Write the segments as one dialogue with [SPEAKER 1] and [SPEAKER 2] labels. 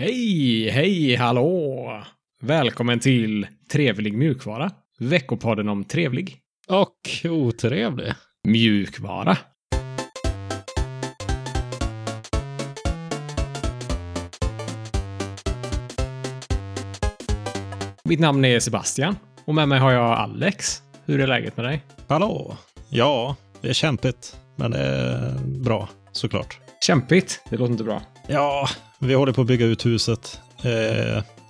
[SPEAKER 1] Hej, hej, hallå! Välkommen till Trevlig mjukvara. Veckopodden om trevlig
[SPEAKER 2] Och otrevlig.
[SPEAKER 1] mjukvara. Mitt namn är Sebastian och med mig har jag Alex. Hur är läget med dig?
[SPEAKER 3] Hallå! Ja, det är kämpigt. Men det är bra, såklart.
[SPEAKER 1] Kämpigt. Det låter inte bra.
[SPEAKER 3] Ja, vi håller på att bygga ut huset. Eh,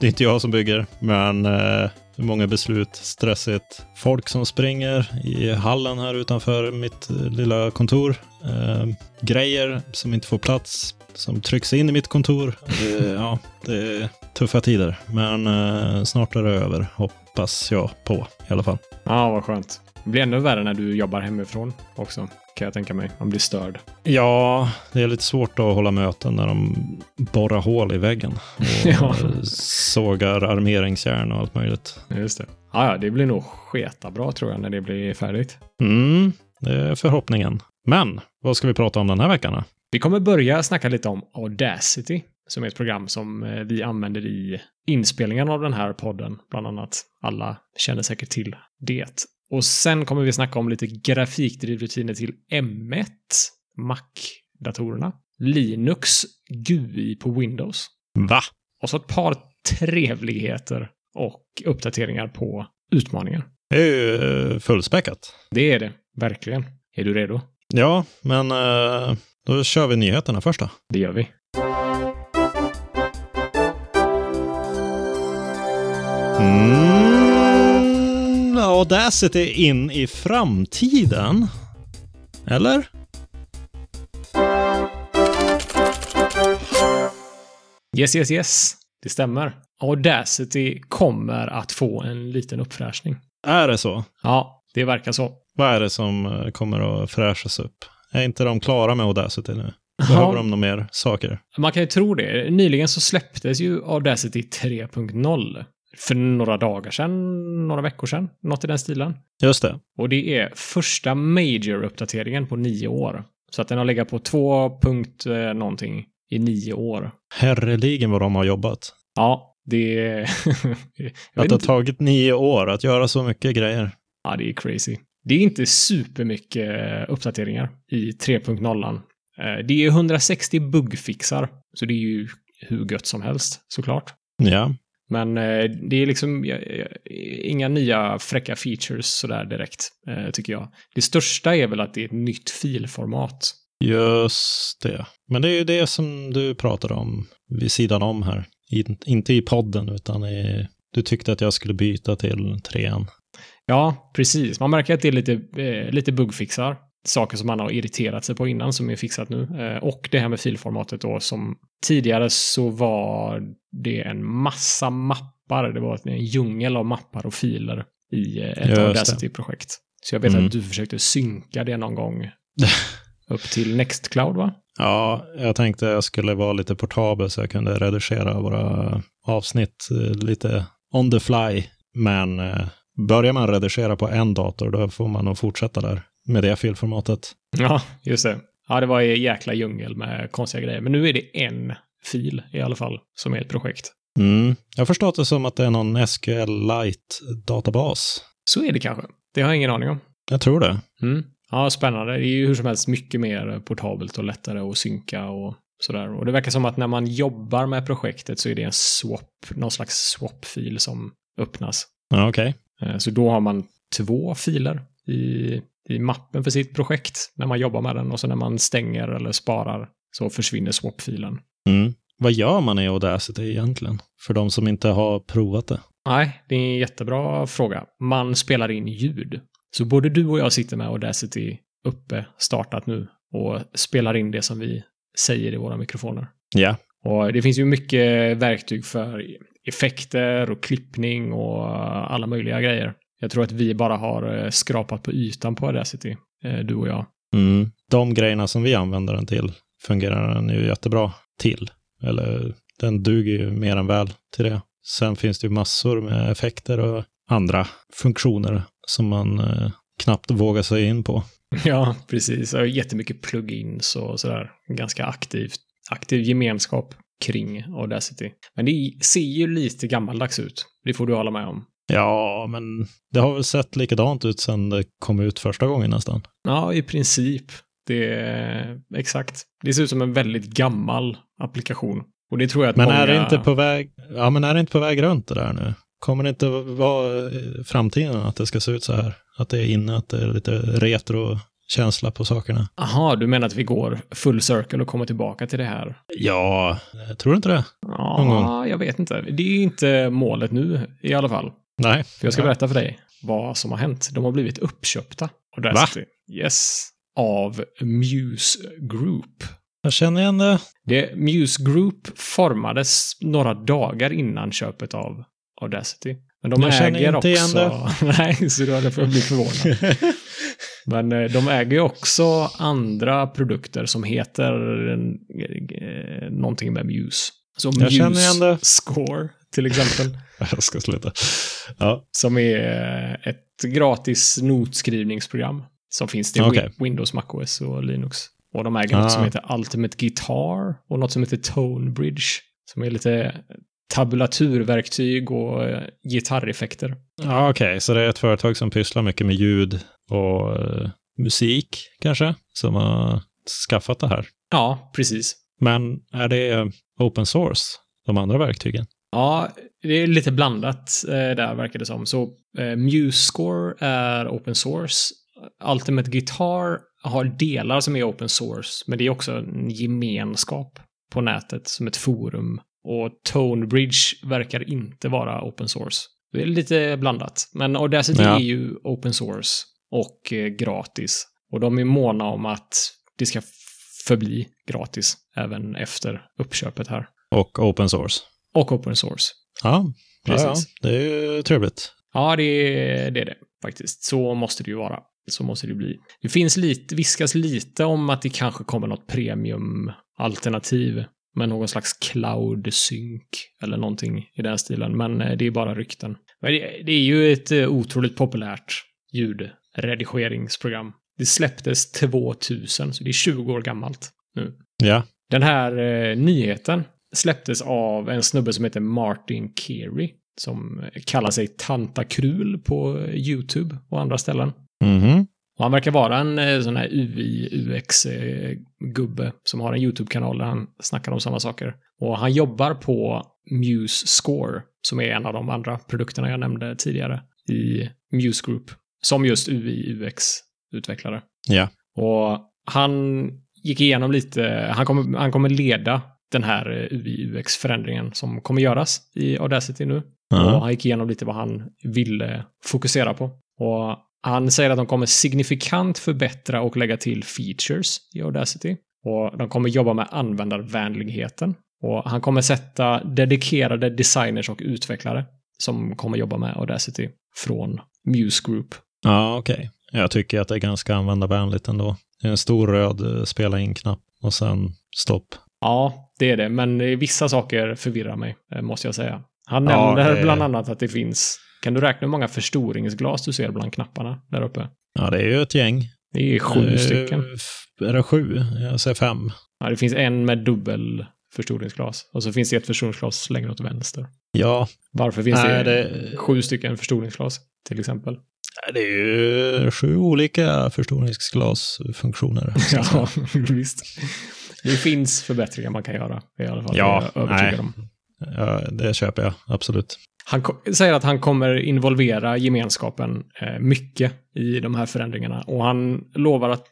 [SPEAKER 3] det är inte jag som bygger, men eh, många beslut, stressigt. Folk som springer i hallen här utanför mitt eh, lilla kontor. Eh, grejer som inte får plats, som trycks in i mitt kontor. Det, ja, det är tuffa tider, men eh, snart är det över, hoppas jag på i alla fall.
[SPEAKER 1] Ja, vad skönt. Det blir ännu värre när du jobbar hemifrån också, kan jag tänka mig. Man blir störd.
[SPEAKER 3] Ja, det är lite svårt att hålla möten när de borrar hål i väggen. Och
[SPEAKER 1] Ja.
[SPEAKER 3] sågar armeringsjärn och allt möjligt.
[SPEAKER 1] Just det. Ja, ja, det blir nog sketa bra tror jag när det blir färdigt.
[SPEAKER 3] Mm, det är förhoppningen. Men, vad ska vi prata om den här veckan då?
[SPEAKER 1] Vi kommer börja snacka lite om Audacity, som är ett program som eh, vi använder i inspelningen av den här podden, bland annat. Alla känner säkert till det. Och sen kommer vi snacka om lite grafikdrivrutiner till M1, Mac-datorerna, Linux, GUI på Windows.
[SPEAKER 3] Va?
[SPEAKER 1] Och så ett par trevligheter och uppdateringar på utmaningar.
[SPEAKER 3] Det är ju eh, fullspäckat.
[SPEAKER 1] Det är det, verkligen. Är du redo?
[SPEAKER 3] Ja, men eh, då kör vi nyheterna först då.
[SPEAKER 1] Det gör vi.
[SPEAKER 3] Mm, Audacity in i framtiden. Eller?
[SPEAKER 1] Yes, yes, yes. Det stämmer. Audacity kommer att få en liten uppfräschning.
[SPEAKER 3] Är det så?
[SPEAKER 1] Ja, det verkar så.
[SPEAKER 3] Vad är det som eh, kommer att fräschas upp? Är inte de klara med Audacity nu? Behöver de några mer saker?
[SPEAKER 1] Man kan ju tro det. Nyligen så släpptes ju Audacity 3.0. För några dagar sedan, några veckor sedan, något i den stilen.
[SPEAKER 3] Just det.
[SPEAKER 1] Och det är första major-uppdateringen på nio år. Så att den har legat på 2. punkt, eh, någonting i nio år.
[SPEAKER 3] Herreligen vad de har jobbat.
[SPEAKER 1] Ja, det är... Jag
[SPEAKER 3] Att
[SPEAKER 1] vet
[SPEAKER 3] det har
[SPEAKER 1] inte.
[SPEAKER 3] tagit nio år att göra så mycket grejer.
[SPEAKER 1] Ja, det är crazy. Det är inte supermycket eh, uppdateringar i 3.0. Eh, Det är 160 buggfixar, så det är ju hur gött som helst såklart.
[SPEAKER 3] Ja.
[SPEAKER 1] Men eh, det är liksom eh, inga nya fräcka features sådär direkt, eh, tycker jag. Det största är väl att det är ett nytt filformat.
[SPEAKER 3] Just det. Men det är ju det som du pratade om vid sidan om här. In, inte i podden, utan i, du tyckte att jag skulle byta till trean.
[SPEAKER 1] Ja, precis. Man märker att det är lite, eh, lite bugfixar. Saker som man har irriterat sig på innan som är fixat nu. Eh, och det här med filformatet då som tidigare så var det en massa mappar. Det var en djungel av mappar och filer i eh,
[SPEAKER 3] Just
[SPEAKER 1] ett
[SPEAKER 3] det.
[SPEAKER 1] Audacity-projekt. Så jag vet
[SPEAKER 3] Mm.
[SPEAKER 1] att du försökte synka det någon gång upp till Nextcloud va?
[SPEAKER 3] Ja, jag tänkte jag skulle vara lite portabel så jag kunde redigera våra avsnitt eh, lite on the fly. Men eh, börjar man redigera på en dator då får man nog fortsätta där med det filformatet.
[SPEAKER 1] Ja, just det. Ja, det var en jäkla djungel med konstiga grejer. Men nu är det en fil i alla fall som är ett projekt.
[SPEAKER 3] Mm. Jag har förstått det som att det är någon SQLite-databas.
[SPEAKER 1] Så är det kanske. Det har jag ingen aning om.
[SPEAKER 3] Jag tror det.
[SPEAKER 1] Mm. Ja, spännande. Det är ju hur som helst mycket mer portabelt och lättare att synka och sådär. Och det verkar som att när man jobbar med projektet så är det en swap, någon slags swap-fil som öppnas.
[SPEAKER 3] Ja, Okej.
[SPEAKER 1] Eh, Så då har man två filer i, i mappen för sitt projekt när man jobbar med den och så när man stänger eller sparar så försvinner swap-filen.
[SPEAKER 3] Mm. Vad gör man i Audacity egentligen? För de som inte har provat det.
[SPEAKER 1] Nej, det är en jättebra fråga. Man spelar in ljud. Så både du och jag sitter med Audacity uppe, startat nu, och spelar in det som vi säger i våra mikrofoner.
[SPEAKER 3] Ja.
[SPEAKER 1] Och det finns ju mycket verktyg för effekter och klippning och alla möjliga grejer. Jag tror att vi bara har eh, skrapat på ytan på Audacity, eh, du och jag.
[SPEAKER 3] Mm. De grejerna som vi använder den till fungerar den ju jättebra till. Eller den duger ju mer än väl till det. Sen finns det ju massor med effekter och andra funktioner som man eh, knappt vågar sig in på.
[SPEAKER 1] Ja, precis. Jag har jättemycket plugins och sådär. Ganska aktivt. Aktiv gemenskap. kring Audacity. Men det ser ju lite gammaldags ut. Det får du hålla med om.
[SPEAKER 3] Ja, men det har väl sett likadant ut sedan det kom ut första gången nästan.
[SPEAKER 1] Ja, i princip. Det är exakt. Det ser ut som en väldigt gammal applikation. Och det tror jag att
[SPEAKER 3] Men
[SPEAKER 1] många...
[SPEAKER 3] är det inte på väg, ja men är det inte på väg runt det där nu? Kommer det inte vara eh, framtiden att det ska se ut så här? Att det är inne, att det är lite retro-känsla på sakerna?
[SPEAKER 1] Aha, du menar att vi går full circle och kommer tillbaka till det här?
[SPEAKER 3] Ja, eh, tror du inte det? Någon
[SPEAKER 1] Ja, jag vet inte. Det är ju inte målet nu i alla fall.
[SPEAKER 3] Nej.
[SPEAKER 1] För jag ska
[SPEAKER 3] Nej.
[SPEAKER 1] berätta för dig vad som har hänt. De har blivit uppköpta. Audacity. Va? Yes. Av Muse Group.
[SPEAKER 3] Jag känner igen det.
[SPEAKER 1] Det, Muse Group formades några dagar innan köpet av Audacity. Men de
[SPEAKER 3] Jag känner
[SPEAKER 1] äger
[SPEAKER 3] inte
[SPEAKER 1] också...
[SPEAKER 3] igen
[SPEAKER 1] Nej, så du hade för blivit förvånad. Men eh, de äger ju också andra produkter som heter eh, någonting med Muse. Som
[SPEAKER 3] Jag känner
[SPEAKER 1] Muse
[SPEAKER 3] igen det.
[SPEAKER 1] Score, till exempel.
[SPEAKER 3] jag ska sluta. Ja,
[SPEAKER 1] Som är eh, ett gratis notskrivningsprogram som finns till
[SPEAKER 3] Okej.
[SPEAKER 1] Win- Windows, Mac OS och Linux. Och de äger något
[SPEAKER 3] Ah.
[SPEAKER 1] som heter Ultimate Guitar och något som heter Tonebridge. Som är lite tabulaturverktyg och eh, gitarreffekter.
[SPEAKER 3] ja okej. Så det är ett företag som pysslar mycket med ljud och eh, musik kanske, som har skaffat det här.
[SPEAKER 1] Ja, precis.
[SPEAKER 3] Men är det eh, open source, de andra verktygen?
[SPEAKER 1] Ja, det är lite blandat eh, där verkar det som. Så eh, MuseScore är open source. Ultimate Guitar har delar som är open source, men det är också en gemenskap på nätet som ett forum. Och Tonebridge verkar inte vara open source. Det är lite blandat. Men Audacity
[SPEAKER 3] Ja.
[SPEAKER 1] är ju open source och eh, gratis. Och de är måna om att det ska f- förbli gratis även efter uppköpet här.
[SPEAKER 3] Och open source.
[SPEAKER 1] Och open source.
[SPEAKER 3] Ja,
[SPEAKER 1] Precis.
[SPEAKER 3] Ja, ja. det är ju trevligt.
[SPEAKER 1] Ja, det, det är det faktiskt. Så måste det ju vara. Så måste det bli. Det finns lite, viskas lite om att det kanske kommer något premiumalternativ med någon slags cloud sync eller någonting i den stilen. Men eh, det är bara rykten. Men det, det är ju ett eh, otroligt populärt ljudredigeringsprogram. Det släpptes 2000, så det är 20 år gammalt nu.
[SPEAKER 3] Ja.
[SPEAKER 1] Den här eh, nyheten släpptes av en snubbe som heter Martin Carey som kallar sig Tanta Krul på YouTube och andra ställen.
[SPEAKER 3] Mhm.
[SPEAKER 1] Och han verkar vara en eh, sån här UI-UX-gubbe eh, som har en YouTube-kanal där han snackar om sådana saker. Och han jobbar på Muse Score, som är en av de andra produkterna jag nämnde tidigare i Muse Group, som just UI-UX-utvecklare.
[SPEAKER 3] Ja.
[SPEAKER 1] Och han gick igenom lite, han kommer, han kommer leda den här eh, UI-UX-förändringen som kommer göras i Audacity nu. Och
[SPEAKER 3] Ja.
[SPEAKER 1] han gick igenom lite vad han ville fokusera på. Och han säger att de kommer signifikant förbättra och lägga till features i Audacity. Och de kommer jobba med användarvänligheten. Och han kommer sätta dedikerade designers och utvecklare som kommer jobba med Audacity från Muse Group.
[SPEAKER 3] Ja, okej. Jag tycker att det är ganska användarvänligt ändå. Det är en stor röd eh, spela in-knapp och sen stopp.
[SPEAKER 1] Ja, det är det, men eh, vissa saker förvirrar mig, eh, måste jag säga. Han
[SPEAKER 3] Ja,
[SPEAKER 1] nämner
[SPEAKER 3] det-
[SPEAKER 1] bland annat att det finns... Kan du räkna hur många förstoringsglas du ser bland knapparna där uppe?
[SPEAKER 3] Ja, det är ju ett gäng.
[SPEAKER 1] Det är sju
[SPEAKER 3] Eh,
[SPEAKER 1] stycken.
[SPEAKER 3] f- Är det sju? Jag säger fem.
[SPEAKER 1] Ja, det finns en med dubbel förstoringsglas och så finns det ett förstoringsglas längre åt vänster.
[SPEAKER 3] Ja,
[SPEAKER 1] Varför finns
[SPEAKER 3] nej,
[SPEAKER 1] det,
[SPEAKER 3] det,
[SPEAKER 1] sju stycken förstoringsglas till exempel?
[SPEAKER 3] det är ju sju olika förstoringsglasfunktioner.
[SPEAKER 1] Ja, visst. Det finns förbättringar man kan göra i alla fall.
[SPEAKER 3] Ja,
[SPEAKER 1] det är jag övertygad
[SPEAKER 3] nej.
[SPEAKER 1] om.
[SPEAKER 3] ja, det köper jag, absolut.
[SPEAKER 1] Han ko- säger att han kommer involvera gemenskapen eh, mycket i de här förändringarna och han lovar att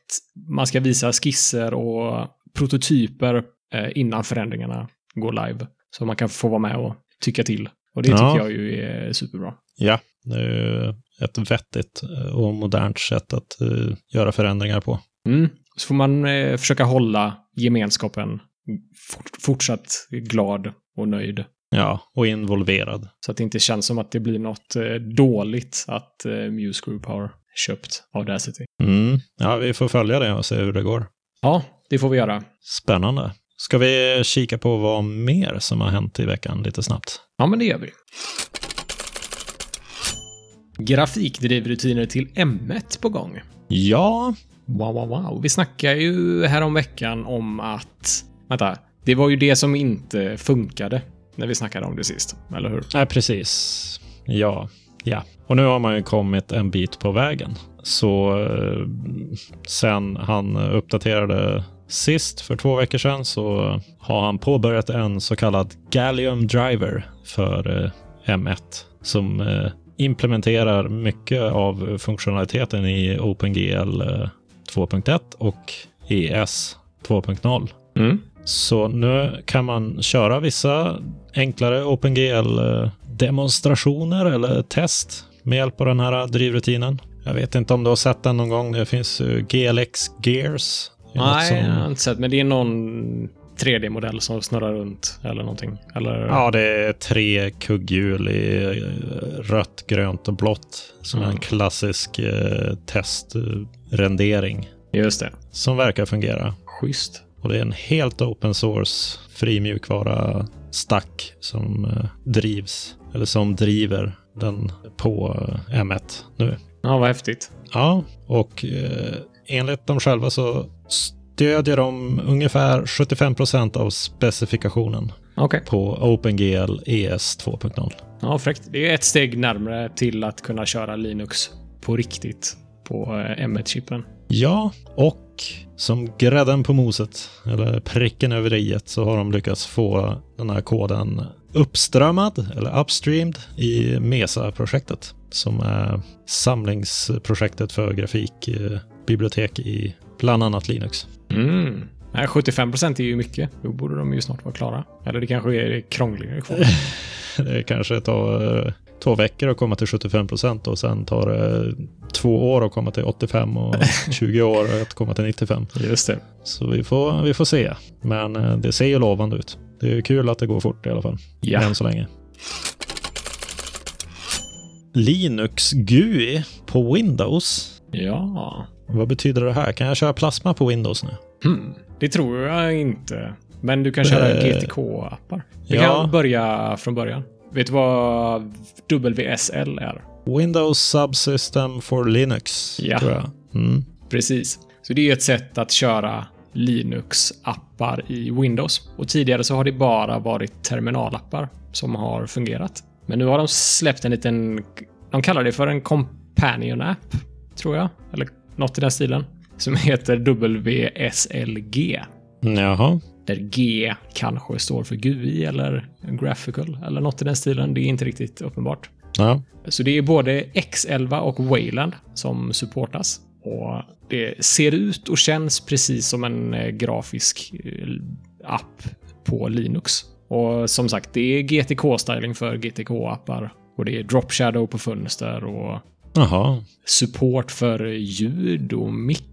[SPEAKER 1] man ska visa skisser och prototyper eh, innan förändringarna går live. Så man kan få vara med och tycka till. Och det
[SPEAKER 3] Ja.
[SPEAKER 1] tycker jag ju är superbra.
[SPEAKER 3] Det är ju ett vettigt eh, och modernt sätt att eh, göra förändringar på.
[SPEAKER 1] Mm. Så får man eh, försöka hålla gemenskapen fort, fortsatt glad och nöjd.
[SPEAKER 3] Ja, och involverad.
[SPEAKER 1] Så att det inte känns som att det blir något eh, dåligt att eh, Muse Group har köpt Audacity.
[SPEAKER 3] Mm. Ja, vi får följa det och se hur det går.
[SPEAKER 1] Ja, det får vi göra.
[SPEAKER 3] Spännande. Ska vi kika på vad mer som har hänt i veckan lite snabbt?
[SPEAKER 1] Ja, men det gör vi. Grafikdrivrutiner till M1 på gång.
[SPEAKER 3] Ja,
[SPEAKER 1] Wow, wow, wow. Vi snackade ju häromveckan om att... Vänta. Det var ju det som inte funkade när vi snackade om det sist, eller hur?
[SPEAKER 3] Nej, precis. Ja. ja. Och nu har man ju kommit en bit på vägen. Så eh, sen han uppdaterade sist, för två veckor sedan, så har han påbörjat en så kallad Gallium Driver för eh, M1 som eh, implementerar mycket av funktionaliteten i OpenGL eh, 2.1 och E ES 2.0.
[SPEAKER 1] Mm.
[SPEAKER 3] Så nu kan man köra vissa enklare OpenGL-demonstrationer eller test med hjälp av den här drivrutinen. Jag vet inte om du har sett den någon gång. Det finns ju GLX Gears. Det är något
[SPEAKER 1] Nej,
[SPEAKER 3] som-
[SPEAKER 1] jag har inte sett, men det är någon 3D-modell som snurrar runt eller någonting. Eller...
[SPEAKER 3] Ja, det är tre kugghjul i eh, rött, grönt och blått. Som är en
[SPEAKER 1] Mm.
[SPEAKER 3] klassisk eh, testrendering
[SPEAKER 1] Just det.
[SPEAKER 3] som verkar fungera.
[SPEAKER 1] Schysst.
[SPEAKER 3] Och det är en helt open source fri mjukvara stack som eh, drivs eller som driver den på eh, M1 nu.
[SPEAKER 1] Ja, vad häftigt.
[SPEAKER 3] Ja, och eh, enligt dem själva så stödjer de ungefär 75 procent av specifikationen
[SPEAKER 1] Okej.
[SPEAKER 3] på OpenGL E ES 2.0.
[SPEAKER 1] Ja, fräckt. Det är ett steg närmare till att kunna köra Linux på riktigt på eh, M1-chippen.
[SPEAKER 3] Ja, och som grädden på moset, eller pricken över i så har de lyckats få den här koden uppströmmad, eller upstreamed, i MESA-projektet. Som är samlingsprojektet för grafikbibliotek i bland annat Linux.
[SPEAKER 1] Mm. Nej, 75 procent är ju mycket. Då borde de ju snart vara klara. Eller det kanske är krångligare kvar.
[SPEAKER 3] Det kanske tar eh, två veckor att komma till 75 procent och sen tar det två år att komma till 85 och 20 år att komma till 95.
[SPEAKER 1] Just det.
[SPEAKER 3] Så vi får, vi får se. Men eh, det ser ju lovande ut. Det är ju kul att det går fort i alla fall.
[SPEAKER 1] Ja.
[SPEAKER 3] Än så länge. Linux GUI på Windows.
[SPEAKER 1] Ja.
[SPEAKER 3] Vad betyder det här? Kan jag köra plasma på Windows nu?
[SPEAKER 1] Hmm. Det tror jag inte. Men du kan köra
[SPEAKER 3] Eh.
[SPEAKER 1] GTK-appar. Du
[SPEAKER 3] Ja.
[SPEAKER 1] kan börja från början. Vet du vad WSL är?
[SPEAKER 3] Windows Subsystem for Linux,
[SPEAKER 1] Ja.
[SPEAKER 3] tror jag. Mm.
[SPEAKER 1] Precis. Så det är ju ett sätt att köra Linux-appar i Windows. Och tidigare så har det bara varit terminalappar som har fungerat. Men nu har de släppt en liten... De kallar det för en companion-app, tror jag. Eller något i den stilen. Som heter WSLG.
[SPEAKER 3] Jaha.
[SPEAKER 1] Där G kanske står för GUI eller Graphical eller något i den stilen. Det är inte riktigt uppenbart.
[SPEAKER 3] Ja.
[SPEAKER 1] Så det är både X11 och Wayland som supportas. Och det ser ut och känns precis som en eh, grafisk eh, app på Linux. Och som sagt, det är GTK-styling för GTK-appar. Och det är drop shadow på fönster och
[SPEAKER 3] Jaha.
[SPEAKER 1] support för ljud och mick.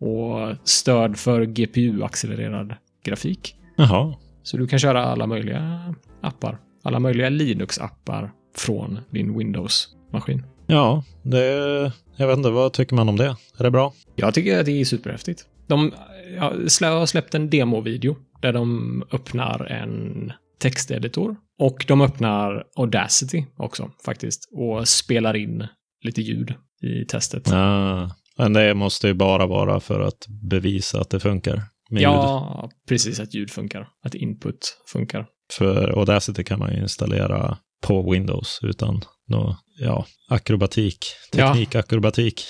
[SPEAKER 1] Och stöd för GPU-accelererad grafik.
[SPEAKER 3] Jaha.
[SPEAKER 1] Så du kan köra alla möjliga appar. Alla möjliga Linux-appar från din Windows-maskin.
[SPEAKER 3] Ja, det... Jag vet inte, vad tycker man om det? Är det bra?
[SPEAKER 1] Jag tycker att det är superhäftigt. De ja, slä- har släppt en demovideo där de öppnar en texteditor och de öppnar Audacity också faktiskt och spelar in lite ljud i testet.
[SPEAKER 3] Ja. Men det måste ju bara vara för att bevisa att det funkar. Med ljud.
[SPEAKER 1] ja, precis att ljud funkar, att input funkar.
[SPEAKER 3] För Audacity kan man ju installera på Windows utan nå, ja, akrobatik,
[SPEAKER 1] Ja.
[SPEAKER 3] teknikakrobatik.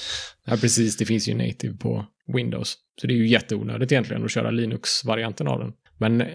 [SPEAKER 1] Ja, precis. Det finns ju native på Windows. Så det är ju jätteonödigt egentligen att köra Linux-varianten av den. Men eh,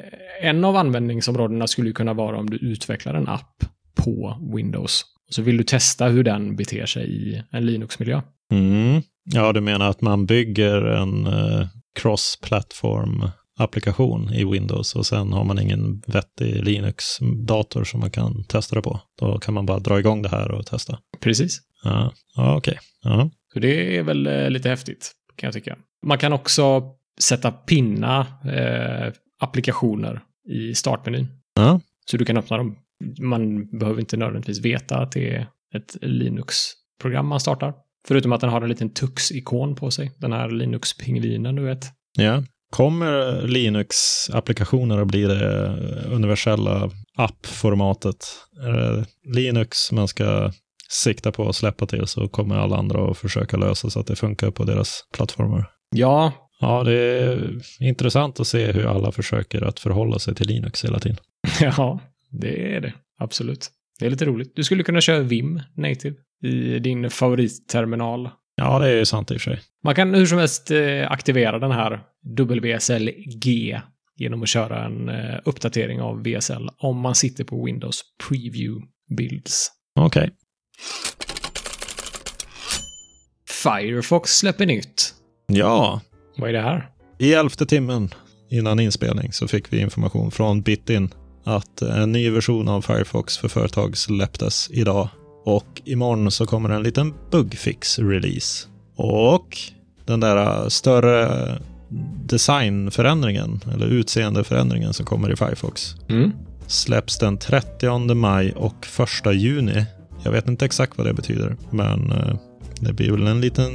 [SPEAKER 1] en av användningsområdena skulle ju kunna vara om du utvecklar en app på Windows. Så vill du testa hur den beter sig i en Linux-miljö.
[SPEAKER 3] Mm. Ja, du menar att man bygger en eh, cross-platform applikation i Windows och sen har man ingen vettig Linux-dator som man kan testa det på. Då kan man bara dra igång det här och testa.
[SPEAKER 1] Precis.
[SPEAKER 3] Ja, ja okej. Ja.
[SPEAKER 1] Så det är väl eh, lite häftigt, kan jag tycka. Man kan också sätta pinna eh, applikationer i startmenyn.
[SPEAKER 3] Ja.
[SPEAKER 1] Så du kan öppna dem. Man behöver inte nödvändigtvis veta att det är ett Linux-program man startar. Förutom att den har en liten tux-ikon på sig. Den här Linux-pingvinen, du vet.
[SPEAKER 3] Ja. Kommer Linux-applikationer att bli det universella appformatet? Är det Linux man ska sikta på att släppa till så kommer alla andra att försöka lösa så att det funkar på deras plattformar.
[SPEAKER 1] Ja,
[SPEAKER 3] Ja, det är intressant att se hur alla försöker att förhålla sig till Linux hela tiden.
[SPEAKER 1] Ja, det är det. Absolut. Det är lite roligt. Du skulle kunna köra Vim native i din favoritterminal.
[SPEAKER 3] Ja, det är ju sant i och för sig.
[SPEAKER 1] Man kan hur som helst eh, aktivera den här WSLG genom att köra en eh, uppdatering av VSL om man sitter på Windows Preview Builds.
[SPEAKER 3] Okej.
[SPEAKER 1] Firefox släpper nytt.
[SPEAKER 3] Ja,
[SPEAKER 1] Vad är det här?
[SPEAKER 3] i elfte timmen innan inspelning så fick vi information från Bitin att en ny version av Firefox för företag släpptes idag. Och imorgon så kommer en liten bugfix-release. Och den där äh, större designförändringen, eller utseendeförändringen som kommer i Firefox,
[SPEAKER 1] Mm.
[SPEAKER 3] släpps den 30 maj och 1 juni. Jag vet inte exakt vad det betyder, men eh, det blir väl en liten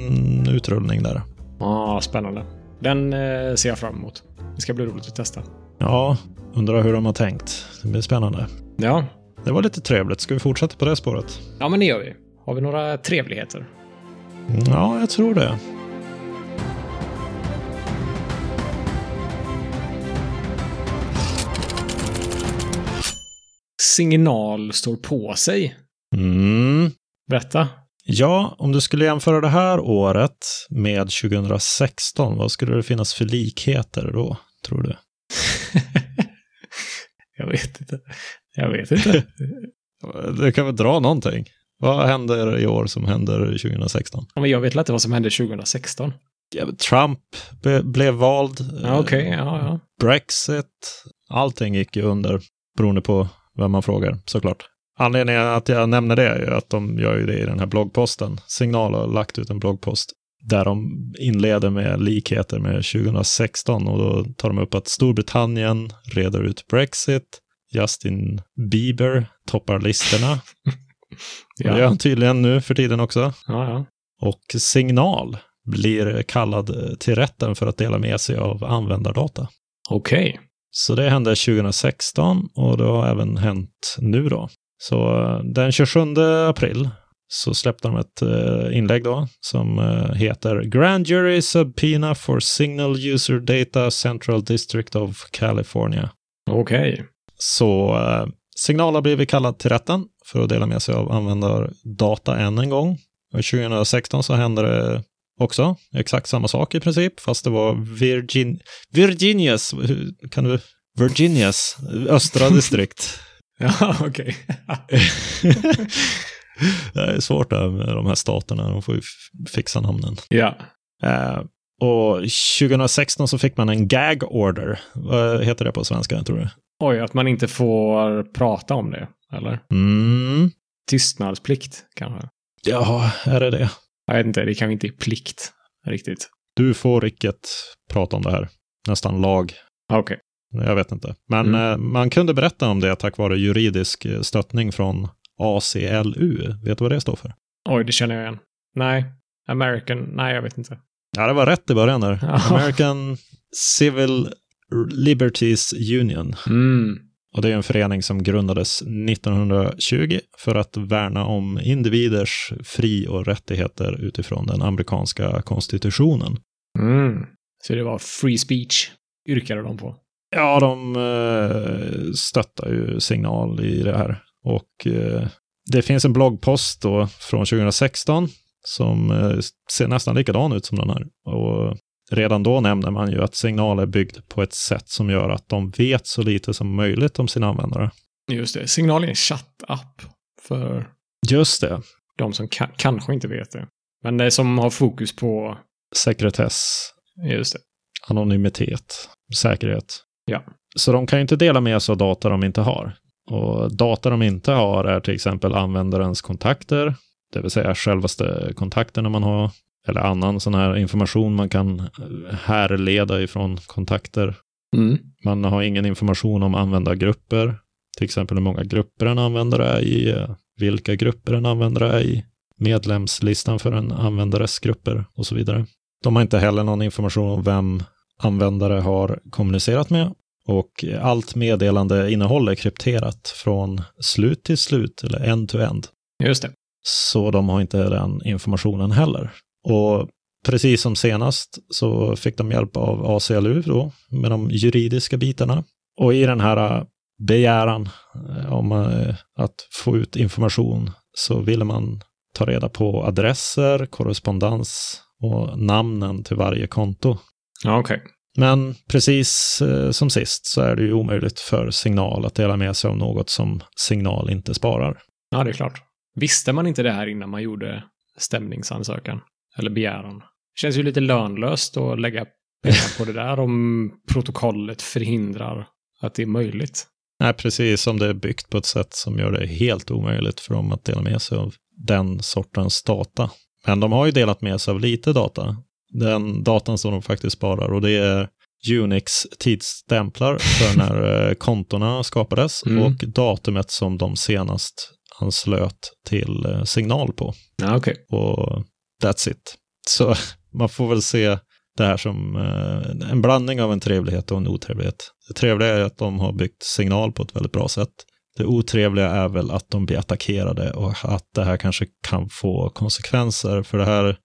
[SPEAKER 3] utrullning där.
[SPEAKER 1] Ah, spännande. Den eh, ser jag fram emot. Det ska bli roligt att testa.
[SPEAKER 3] Ja, undrar hur de har tänkt. Det blir spännande.
[SPEAKER 1] Ja,
[SPEAKER 3] Det var lite trevligt. Ska vi fortsätta på det spåret?
[SPEAKER 1] ja men det gör vi. Har vi några trevligheter?
[SPEAKER 3] Ja, jag tror det.
[SPEAKER 1] Signal står på sig.
[SPEAKER 3] Mm.
[SPEAKER 1] Berätta.
[SPEAKER 3] Ja, om du skulle jämföra det här året med 2016, vad skulle det finnas för likheter då, tror du?
[SPEAKER 1] Jag vet inte. Jag vet inte.
[SPEAKER 3] Du kan väl dra någonting? Vad händer i år som händer 2016?
[SPEAKER 1] Ja, men jag vet inte vad som hände 2016.
[SPEAKER 3] Ja, Trump be- blev vald.
[SPEAKER 1] Ja,
[SPEAKER 3] Eh,
[SPEAKER 1] Okej, ja, ja.
[SPEAKER 3] Brexit. Allting gick ju under beroende på vem man frågar såklart. Anledningen att jag nämner det är ju att de gör ju det i den här bloggposten. Signal har lagt ut en bloggpost där de inleder med likheter med 2016 och då tar de upp att Storbritannien reder ut Brexit. Justin Bieber toppar listorna. Det gör
[SPEAKER 1] Ja,
[SPEAKER 3] han tydligen nu för tiden också.
[SPEAKER 1] ja, ja.
[SPEAKER 3] Och Signal blir kallad till rätten för att dela med sig av användardata.
[SPEAKER 1] Okej.
[SPEAKER 3] Så det hände 2016 och det har även hänt nu då. Så eh, den 27 april så släppte de ett eh, inlägg då som eh, heter Grand Jury Subpoena for Signal User Data Central District of California.
[SPEAKER 1] Okej.
[SPEAKER 3] Så eh, Signal har blivit kallad till rätten för att dela med sig av användardata än en gång. Och 2016 så hände det också exakt samma sak i princip, fast det var Virgin... Virginias, hur- kan du... Virginias östra distrikt.
[SPEAKER 1] Ja, okej.
[SPEAKER 3] det är svårt det här med de här staterna, de får ju f- fixa namnen.
[SPEAKER 1] ja.
[SPEAKER 3] Eh, och 2016 så fick man en gag order. Vad heter det på svenska, tror du?
[SPEAKER 1] Oj, att man inte får prata om det, eller?
[SPEAKER 3] Mm.
[SPEAKER 1] Tystnadsplikt, kanske?
[SPEAKER 3] Ja, är det det?
[SPEAKER 1] Jag vet inte, det kanske inte är plikt riktigt.
[SPEAKER 3] Du får riket prata om det här. Nästan lag.
[SPEAKER 1] Ah, Okej.
[SPEAKER 3] Jag vet inte. Men
[SPEAKER 1] Mm.
[SPEAKER 3] eh, man kunde berätta om det tack vare juridisk eh, stöttning från ACLU. Vet du vad det står för?
[SPEAKER 1] Oj, det känner jag igen. Nej. American. Nej, jag vet inte.
[SPEAKER 3] Ja, det var rätt i början där.
[SPEAKER 1] Ja.
[SPEAKER 3] American Civil Liberties Union.
[SPEAKER 1] Mm.
[SPEAKER 3] Och det är en förening som grundades 1920 för att värna om individers fri och rättigheter utifrån den amerikanska konstitutionen.
[SPEAKER 1] Mm. Så det var free speech, yrkade de på.
[SPEAKER 3] Ja, de eh, stöttar ju Signal i det här. Och eh, det finns en bloggpost då från 2016 som eh, ser nästan likadan ut som den här. Och redan då nämner man ju att Signal är byggd på ett sätt som gör att de vet så lite som möjligt om sina användare.
[SPEAKER 1] Just det. Signal är en chattapp för
[SPEAKER 3] Just det,
[SPEAKER 1] de som ka- kanske inte vet det. Men det som har fokus på...
[SPEAKER 3] sekretess,
[SPEAKER 1] Just det.
[SPEAKER 3] anonymitet, säkerhet.
[SPEAKER 1] Ja.
[SPEAKER 3] Så de kan ju inte dela med sig av data de inte har. Och data de inte har är till exempel användarens kontakter, det vill säga självaste kontakterna man har, eller annan sån här information man kan eh, härleda ifrån kontakter.
[SPEAKER 1] Mm.
[SPEAKER 3] Man har ingen information om användargrupper, till exempel hur många grupper en användare är i, eh, vilka grupper en användare är i, medlemslistan för en användares grupper och så vidare. De har inte heller någon information om vem användare har kommunicerat med och allt meddelande innehåll är krypterat från slut till slut eller end to end.
[SPEAKER 1] Just det.
[SPEAKER 3] Så de har inte den informationen heller. Och precis som senast så fick de hjälp av ACLU då, med de juridiska bitarna. Och i den här eh, begäran eh, om eh, att få ut information så ville man ta reda på adresser, korrespondens och namnen till varje konto.
[SPEAKER 1] Ja, okej.
[SPEAKER 3] Men precis eh, som sist så är det ju omöjligt för Signal att dela med sig av något som Signal inte sparar.
[SPEAKER 1] Ja, det är klart. Visste man inte det här innan man gjorde stämningsansökan? Eller begäran? Känns ju lite lönlöst att lägga pengar på det där om protokollet förhindrar att det är möjligt.
[SPEAKER 3] Nej, precis som det är byggt på ett sätt som gör det helt omöjligt för dem att dela med sig av den sortens data. Men de har ju delat med sig av lite data. Den datan som de faktiskt sparar och det är Unix tidsstämplar för när eh, kontona skapades
[SPEAKER 1] Mm.
[SPEAKER 3] och datumet som de senast anslöt till eh, signal på.
[SPEAKER 1] Ja, okej.
[SPEAKER 3] Och that's it. Så man får väl se det här som eh, en blandning av en trevlighet och en otrevlighet. Det trevliga är att de har byggt signal på ett väldigt bra sätt. Det otrevliga är väl att de blir attackerade och att det här kanske kan få konsekvenser. För det här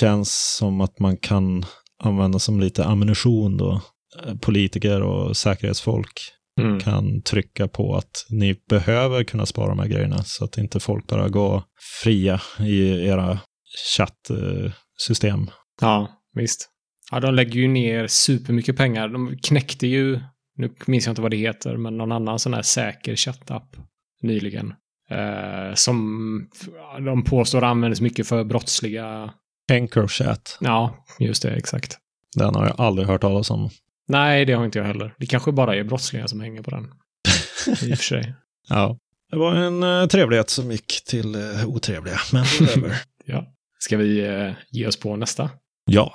[SPEAKER 3] känns som att man kan använda som lite ammunition då. Eh, Politiker och säkerhetsfolk
[SPEAKER 1] Mm.
[SPEAKER 3] kan trycka på att ni behöver kunna spara de här grejerna så att inte folk bara går fria i era chattsystem.
[SPEAKER 1] Ja, visst. Ja, de lägger ju ner supermycket pengar. De knäckte ju, nu minns jag inte vad det heter, men någon annan sån här säker chattapp nyligen. Eh, som ja, de påstår används mycket för brottsliga...
[SPEAKER 3] Anchorchat,
[SPEAKER 1] Ja, just det, exakt.
[SPEAKER 3] den har jag aldrig hört talas om.
[SPEAKER 1] Nej, det har inte jag heller. Det kanske bara är brottslingar som hänger på den. I och för sig.
[SPEAKER 3] Ja. Det var en eh, trevlighet som gick till eh, otrevliga, men det är över.
[SPEAKER 1] Ja. Ska vi eh, ge oss på nästa?
[SPEAKER 3] ja.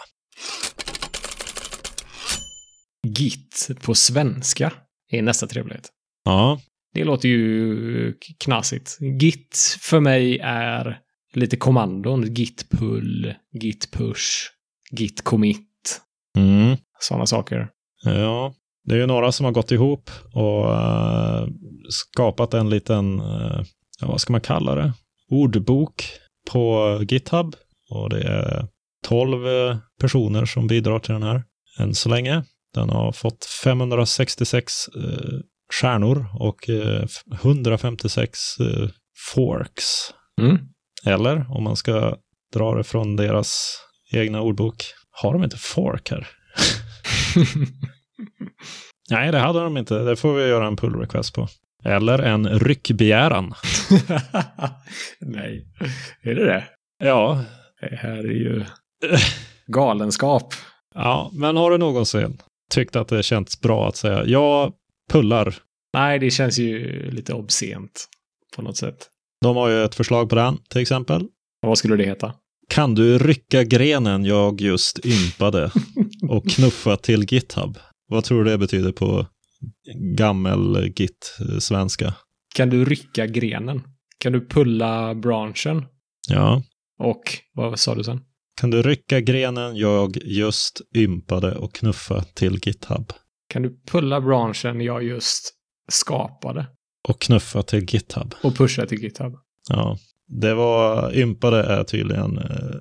[SPEAKER 1] Git på svenska är nästa trevlighet.
[SPEAKER 3] Ja.
[SPEAKER 1] Det låter ju knasigt. Git för mig är lite kommandon. Git pull, git push, git commit,
[SPEAKER 3] Mm.
[SPEAKER 1] sådana saker.
[SPEAKER 3] Ja, det är ju några som har gått ihop och eh, skapat en liten, eh, ja, vad ska man kalla det, ordbok på GitHub. Och det är 12 eh, personer som bidrar till den här än så länge. Den har fått 566 eh, stjärnor och eh, 156 eh, forks.
[SPEAKER 1] Mm.
[SPEAKER 3] Eller om man ska dra det från deras egna ordbok, har de inte fork här? Nej, det hade de inte. Det får vi göra en pull request på. Eller en ryckbegäran.
[SPEAKER 1] Nej, är det det?
[SPEAKER 3] Ja.
[SPEAKER 1] Det här är ju galenskap.
[SPEAKER 3] ja, men har du någonsin tyckt att det känts bra att säga jag pullar?
[SPEAKER 1] Nej, det känns ju lite obscent på något sätt.
[SPEAKER 3] De har ju ett förslag på den till exempel.
[SPEAKER 1] Vad skulle det heta?
[SPEAKER 3] Kan du rycka grenen jag just ympade och knuffa till GitHub? Vad tror du det betyder på gammel eh, git-svenska?
[SPEAKER 1] Kan du rycka grenen? Kan du pulla branschen?
[SPEAKER 3] Ja.
[SPEAKER 1] Och vad sa du sen?
[SPEAKER 3] Kan du rycka grenen jag just ympade och knuffa till GitHub?
[SPEAKER 1] Kan du pulla branschen jag just skapade
[SPEAKER 3] Och knuffa till GitHub.
[SPEAKER 1] och pusha till GitHub?
[SPEAKER 3] Ja, det var ympade är tydligen eh,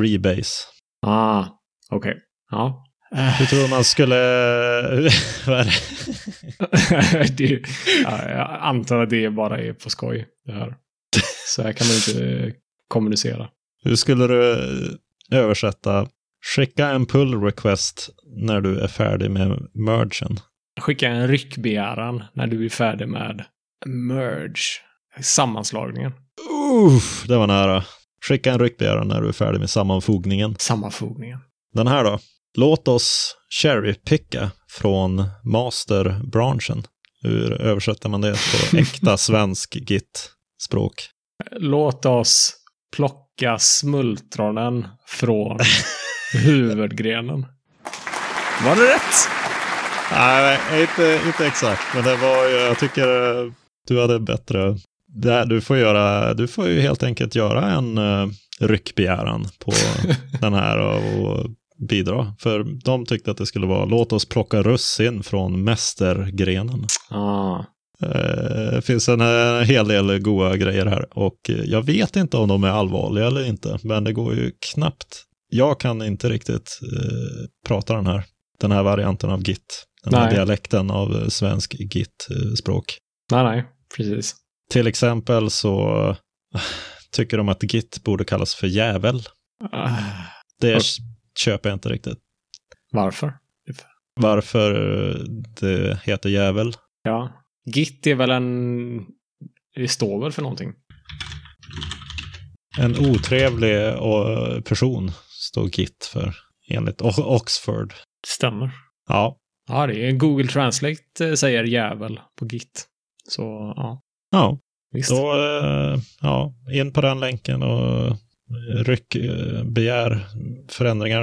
[SPEAKER 3] rebase.
[SPEAKER 1] Ah, okej. Ja.
[SPEAKER 3] Hur tror man skulle... vad är det?
[SPEAKER 1] det, ja, jag antar att det bara är på skoj, det här. Så här kan man inte eh, kommunicera.
[SPEAKER 3] Hur skulle du eh, översätta skicka en pull request när du är färdig med mergen?
[SPEAKER 1] Skicka en ryckbegäran när du är färdig med merge, sammanslagningen,
[SPEAKER 3] Uff, det var nära. Skicka en ryckbegäran när du är färdig med sammanfogningen.
[SPEAKER 1] sammanfogningen.
[SPEAKER 3] Den här då? Låt oss cherrypicka från masterbranschen. Hur översätter man det på äkta svensk git-språk?
[SPEAKER 1] Låt oss plocka smultronen från huvudgrenen. Var det rätt?
[SPEAKER 3] Nej, nej, inte, inte exakt. Men det var ju, jag tycker eh, du hade bättre. Det här, du, får göra, du får ju helt enkelt göra en uh, ryckbegäran på den här och, och bidra. För de tyckte att det skulle vara låt oss plocka russin från mästergrenen.
[SPEAKER 1] Ah.
[SPEAKER 3] Eh, Det finns en, eh, hel del goda grejer här och eh, jag vet inte om de är allvarliga eller inte, men det går ju knappt Jag kan inte riktigt eh, prata den här, den här varianten av git. Den här
[SPEAKER 1] Nej.
[SPEAKER 3] dialekten av eh, svensk git-språk.
[SPEAKER 1] Nej, nej, precis.
[SPEAKER 3] Till exempel så eh, tycker de att git borde kallas för jävel.
[SPEAKER 1] Ah,
[SPEAKER 3] Det
[SPEAKER 1] Och-
[SPEAKER 3] köper jag inte riktigt.
[SPEAKER 1] varför?
[SPEAKER 3] Varför eh, det heter jävel?
[SPEAKER 1] Ja. Git är väl en... Det står väl för någonting?
[SPEAKER 3] En otrevlig eh, person står git för, enligt O- Oxford.
[SPEAKER 1] Stämmer.
[SPEAKER 3] Ja,
[SPEAKER 1] Ja, det är Google Translate eh, säger jävel på git. Så ja,
[SPEAKER 3] ja.
[SPEAKER 1] visst.
[SPEAKER 3] Då, eh, ja, in på den länken och eh, ryck, eh, begär förändringar.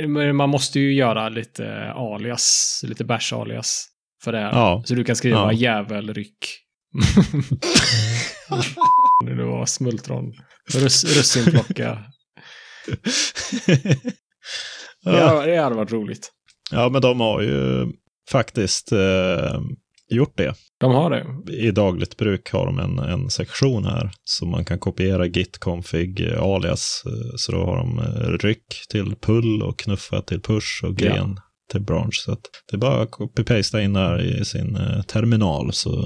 [SPEAKER 1] Eh, Men Man måste ju göra lite alias, lite bash alias för det här.
[SPEAKER 3] Ja.
[SPEAKER 1] Så du kan skriva
[SPEAKER 3] Ja.
[SPEAKER 1] jävelryck. Nu det var smultron. Russ, russinplocka.
[SPEAKER 3] ja.
[SPEAKER 1] ja, det hade varit roligt.
[SPEAKER 3] ja, men de har ju faktiskt eh, gjort det.
[SPEAKER 1] De har det.
[SPEAKER 3] I dagligt bruk har de en, en sektion här som man kan kopiera git config eh, alias. eh, Så då har de eh, ryck till pull och knuffa till push och
[SPEAKER 1] Ja.
[SPEAKER 3] gren till branch. Så att det är bara att copy-pasta in här i sin eh, terminal så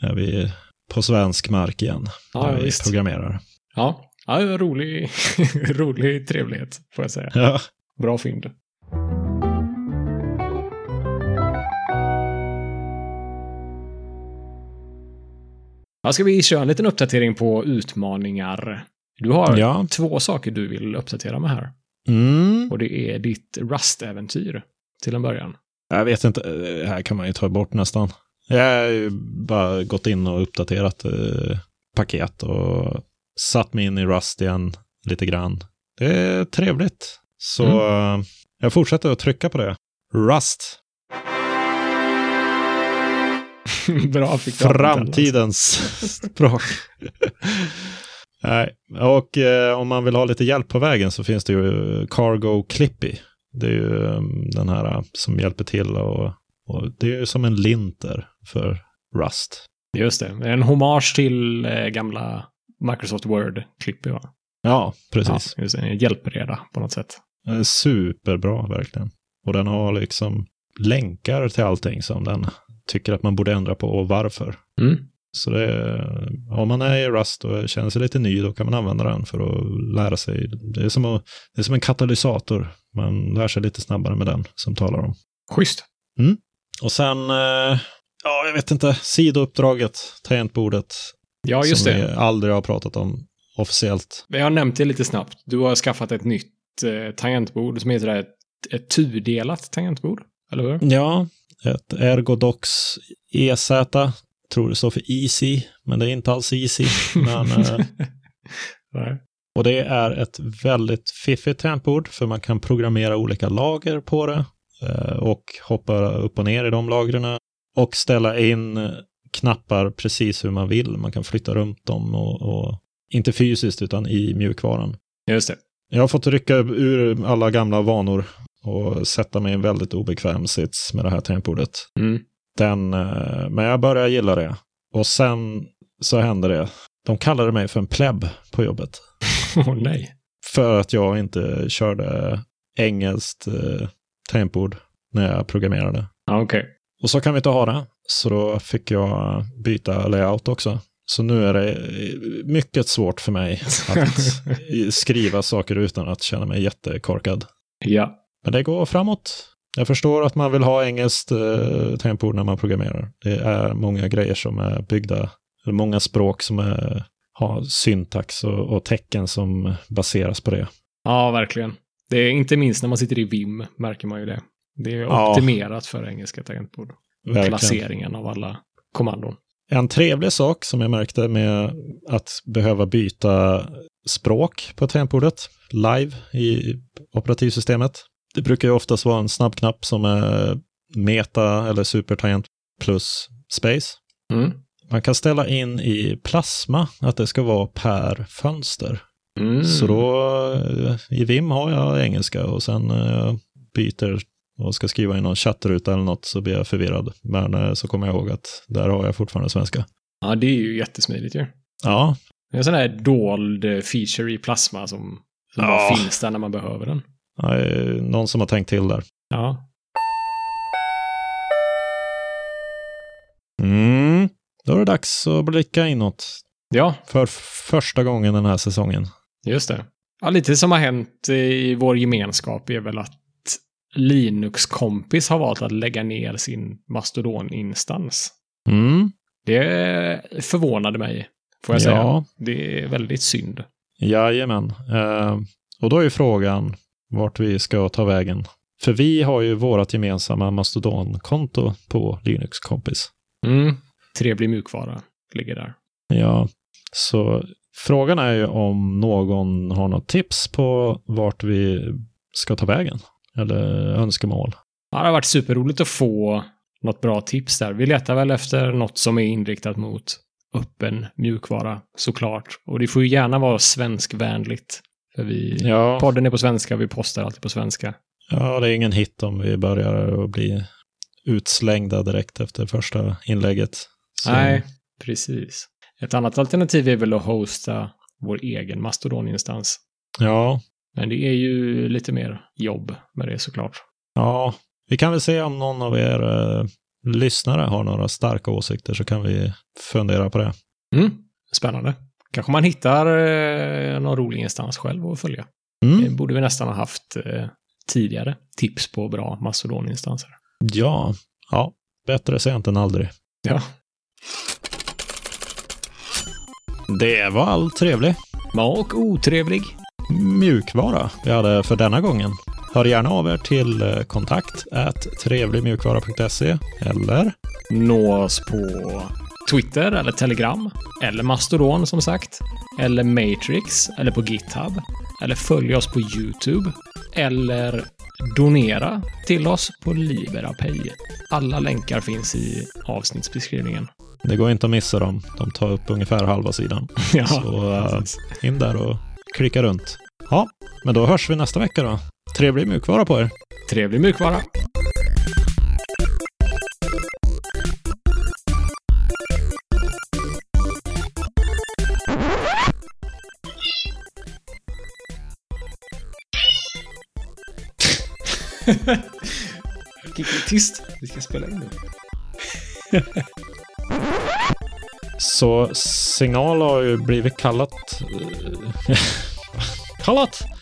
[SPEAKER 3] är vi på svensk mark igen.
[SPEAKER 1] Ja,
[SPEAKER 3] när
[SPEAKER 1] ja
[SPEAKER 3] vi
[SPEAKER 1] visst.
[SPEAKER 3] programmerar.
[SPEAKER 1] Ja, ja det var rolig, rolig trevlighet får jag säga.
[SPEAKER 3] Ja.
[SPEAKER 1] Bra fynd. Ja, ska vi köra en liten uppdatering på utmaningar? Du har
[SPEAKER 3] ja.
[SPEAKER 1] två saker du vill uppdatera med här.
[SPEAKER 3] Mm.
[SPEAKER 1] Och det är ditt Rust-äventyr till en början.
[SPEAKER 3] Jag vet inte, eh, här kan man ju ta bort nästan. Jag har ju bara gått in och uppdaterat eh, paket och satt mig in i Rust igen lite grann. Det är trevligt. Så eh, jag fortsätter att trycka på det. Rust,
[SPEAKER 1] Bra, fick du
[SPEAKER 3] framtidens språk. Nej, och eh, om man vill ha lite hjälp på vägen så finns det ju Cargo Clippy. Det är ju eh, den här eh, som hjälper till och, och det är ju som en linter för Rust.
[SPEAKER 1] Just det. En hommage till eh, gamla Microsoft Word-klipp. Ja.
[SPEAKER 3] Ja,
[SPEAKER 1] Ja,
[SPEAKER 3] precis.
[SPEAKER 1] just det. En hjälpreda på något sätt.
[SPEAKER 3] Den är Superbra verkligen. Och den har liksom länkar till allting som den tycker att man borde ändra på och varför.
[SPEAKER 1] Mm.
[SPEAKER 3] Så det är, om man är i Rust och känner sig lite ny, då kan man använda den för att lära sig. Det är som, att, det är som en katalysator. Man lär sig lite snabbare med den som talar om.
[SPEAKER 1] Schysst.
[SPEAKER 3] Och sen, eh, ja, jag vet inte, sidouppdraget, tangentbordet,
[SPEAKER 1] Ja, just
[SPEAKER 3] som
[SPEAKER 1] det.
[SPEAKER 3] vi aldrig har pratat om officiellt.
[SPEAKER 1] Men Jag har nämnt det lite snabbt. Du har skaffat ett nytt eh, tangentbord som heter det här, ett, ett tudelat tangentbord. Eller hur?
[SPEAKER 3] Ja, ett Ergodox EZ, tror det står för Easy, men det är inte alls Easy. Men, eh,
[SPEAKER 1] Nej.
[SPEAKER 3] Och det är ett väldigt fiffigt tangentbord för man kan programmera olika lager på det eh, och hoppa upp och ner i de lagren och ställa in eh, knappar precis hur man vill. Man kan flytta runt dem och, och inte fysiskt utan i mjukvaran.
[SPEAKER 1] Just det.
[SPEAKER 3] Jag har fått rycka ur alla gamla vanor och sätta mig i en väldigt obekväm sits med det här tangentbordet.
[SPEAKER 1] Mm.
[SPEAKER 3] Den, eh, men jag började gilla det. Och sen så hände det. De kallade mig för en pleb på jobbet.
[SPEAKER 1] Åh nej.
[SPEAKER 3] För att jag inte körde engelskt eh, tangentbord när jag programmerade.
[SPEAKER 1] Ja, okej.
[SPEAKER 3] Och så kan vi inte ha det. Så då fick jag byta layout också. Så nu är det eh, mycket svårt för mig att eh, skriva saker utan att känna mig jättekorkad.
[SPEAKER 1] Ja.
[SPEAKER 3] Men det går framåt. Jag förstår att man vill ha engelskt eh, tangentbord när man programmerar. Det är många grejer som är byggda, eller många språk som är, har syntax och, och tecken som baseras på det.
[SPEAKER 1] Ja, verkligen. Det är inte minst när man sitter i VIM märker man ju det. Det är
[SPEAKER 3] Ja.
[SPEAKER 1] optimerat för engelska tangentbord.
[SPEAKER 3] Verkligen.
[SPEAKER 1] Placeringen av alla kommandon.
[SPEAKER 3] En trevlig sak som jag märkte med att behöva byta språk på tangentbordet live i operativsystemet. Det brukar ju oftast vara en snabbknapp som är meta eller supertangent plus space.
[SPEAKER 1] Mm.
[SPEAKER 3] Man kan ställa in i plasma att det ska vara per fönster.
[SPEAKER 1] Mm.
[SPEAKER 3] Så då eh, i VIM har jag engelska och sen eh, byter och ska skriva i någon chattruta eller något så blir jag förvirrad. Men eh, så kommer jag ihåg att där har jag fortfarande svenska.
[SPEAKER 1] Ja, det är ju jättesmidigt ju.
[SPEAKER 3] Ja,
[SPEAKER 1] Det är en sån här dold feature i eh, plasma som, Som bara
[SPEAKER 3] Ja.
[SPEAKER 1] finns där när man behöver den.
[SPEAKER 3] Nej, någon som har tänkt till där.
[SPEAKER 1] Ja.
[SPEAKER 3] Mm. Då är det dags att blicka inåt
[SPEAKER 1] Ja,
[SPEAKER 3] för f- första gången den här säsongen.
[SPEAKER 1] just det. Ja, lite som har hänt i vår gemenskap är väl att Linux-kompis har valt att lägga ner sin Mastodon-instans.
[SPEAKER 3] Mm.
[SPEAKER 1] Det förvånade mig, får jag säga.
[SPEAKER 3] Ja,
[SPEAKER 1] Det är väldigt synd.
[SPEAKER 3] jajamän. Eh, och då är ju frågan vart vi ska ta vägen. För vi har ju vårt gemensamma Mastodon-konto på Linux kompis.
[SPEAKER 1] Mm. Trevlig mjukvara ligger där.
[SPEAKER 3] Ja, så frågan är ju om någon har något tips på vart vi ska ta vägen. Eller önskemål.
[SPEAKER 1] Ja, det har varit superroligt att få något bra tips där. Vi letar väl efter något som är inriktat mot öppen mjukvara såklart. Och det får ju gärna vara svenskvänligt. För vi,
[SPEAKER 3] Ja.
[SPEAKER 1] podden är på svenska och vi postar alltid på svenska.
[SPEAKER 3] Ja, det är ingen hit om vi börjar att bli utslängda direkt efter första inlägget. Så-
[SPEAKER 1] Nej, precis. Ett annat alternativ är väl att hosta vår egen Mastodon-instans.
[SPEAKER 3] Ja,
[SPEAKER 1] Men det är ju lite mer jobb med det såklart.
[SPEAKER 3] ja, vi kan väl se om någon av er eh, lyssnare har några starka åsikter så kan vi fundera på det.
[SPEAKER 1] Mm, spännande. Kanske man hittar eh, någon rolig instans själv att följa. Det
[SPEAKER 3] Mm.
[SPEAKER 1] borde vi nästan ha haft eh, tidigare. Tips på bra Mastodoninstanser.
[SPEAKER 3] Ja, ja, bättre sent än aldrig.
[SPEAKER 1] Ja.
[SPEAKER 3] Det var allt trevligt.
[SPEAKER 1] Ja, och otrevlig.
[SPEAKER 3] Mjukvara vi hade för denna gången. Hör gärna av er till eh, kontakt at trevligmjukvara.se eller
[SPEAKER 1] Nås på Twitter eller Telegram. Eller Mastodon som sagt. Eller Matrix. Eller på GitHub. Eller följ oss på YouTube. Eller donera till oss på Liberapay. Alla länkar finns i avsnittsbeskrivningen.
[SPEAKER 3] det går inte att missa dem. De tar upp ungefär halva sidan.
[SPEAKER 1] Ja,
[SPEAKER 3] Så, eh,
[SPEAKER 1] precis.
[SPEAKER 3] in där och klicka runt. Ja, men då hörs vi nästa vecka då. Trevlig mjukvara på er.
[SPEAKER 1] Trevlig mjukvara. Tyst, vi ska spela in nu. eh,
[SPEAKER 3] Så signal har ju blivit kallat... kallat?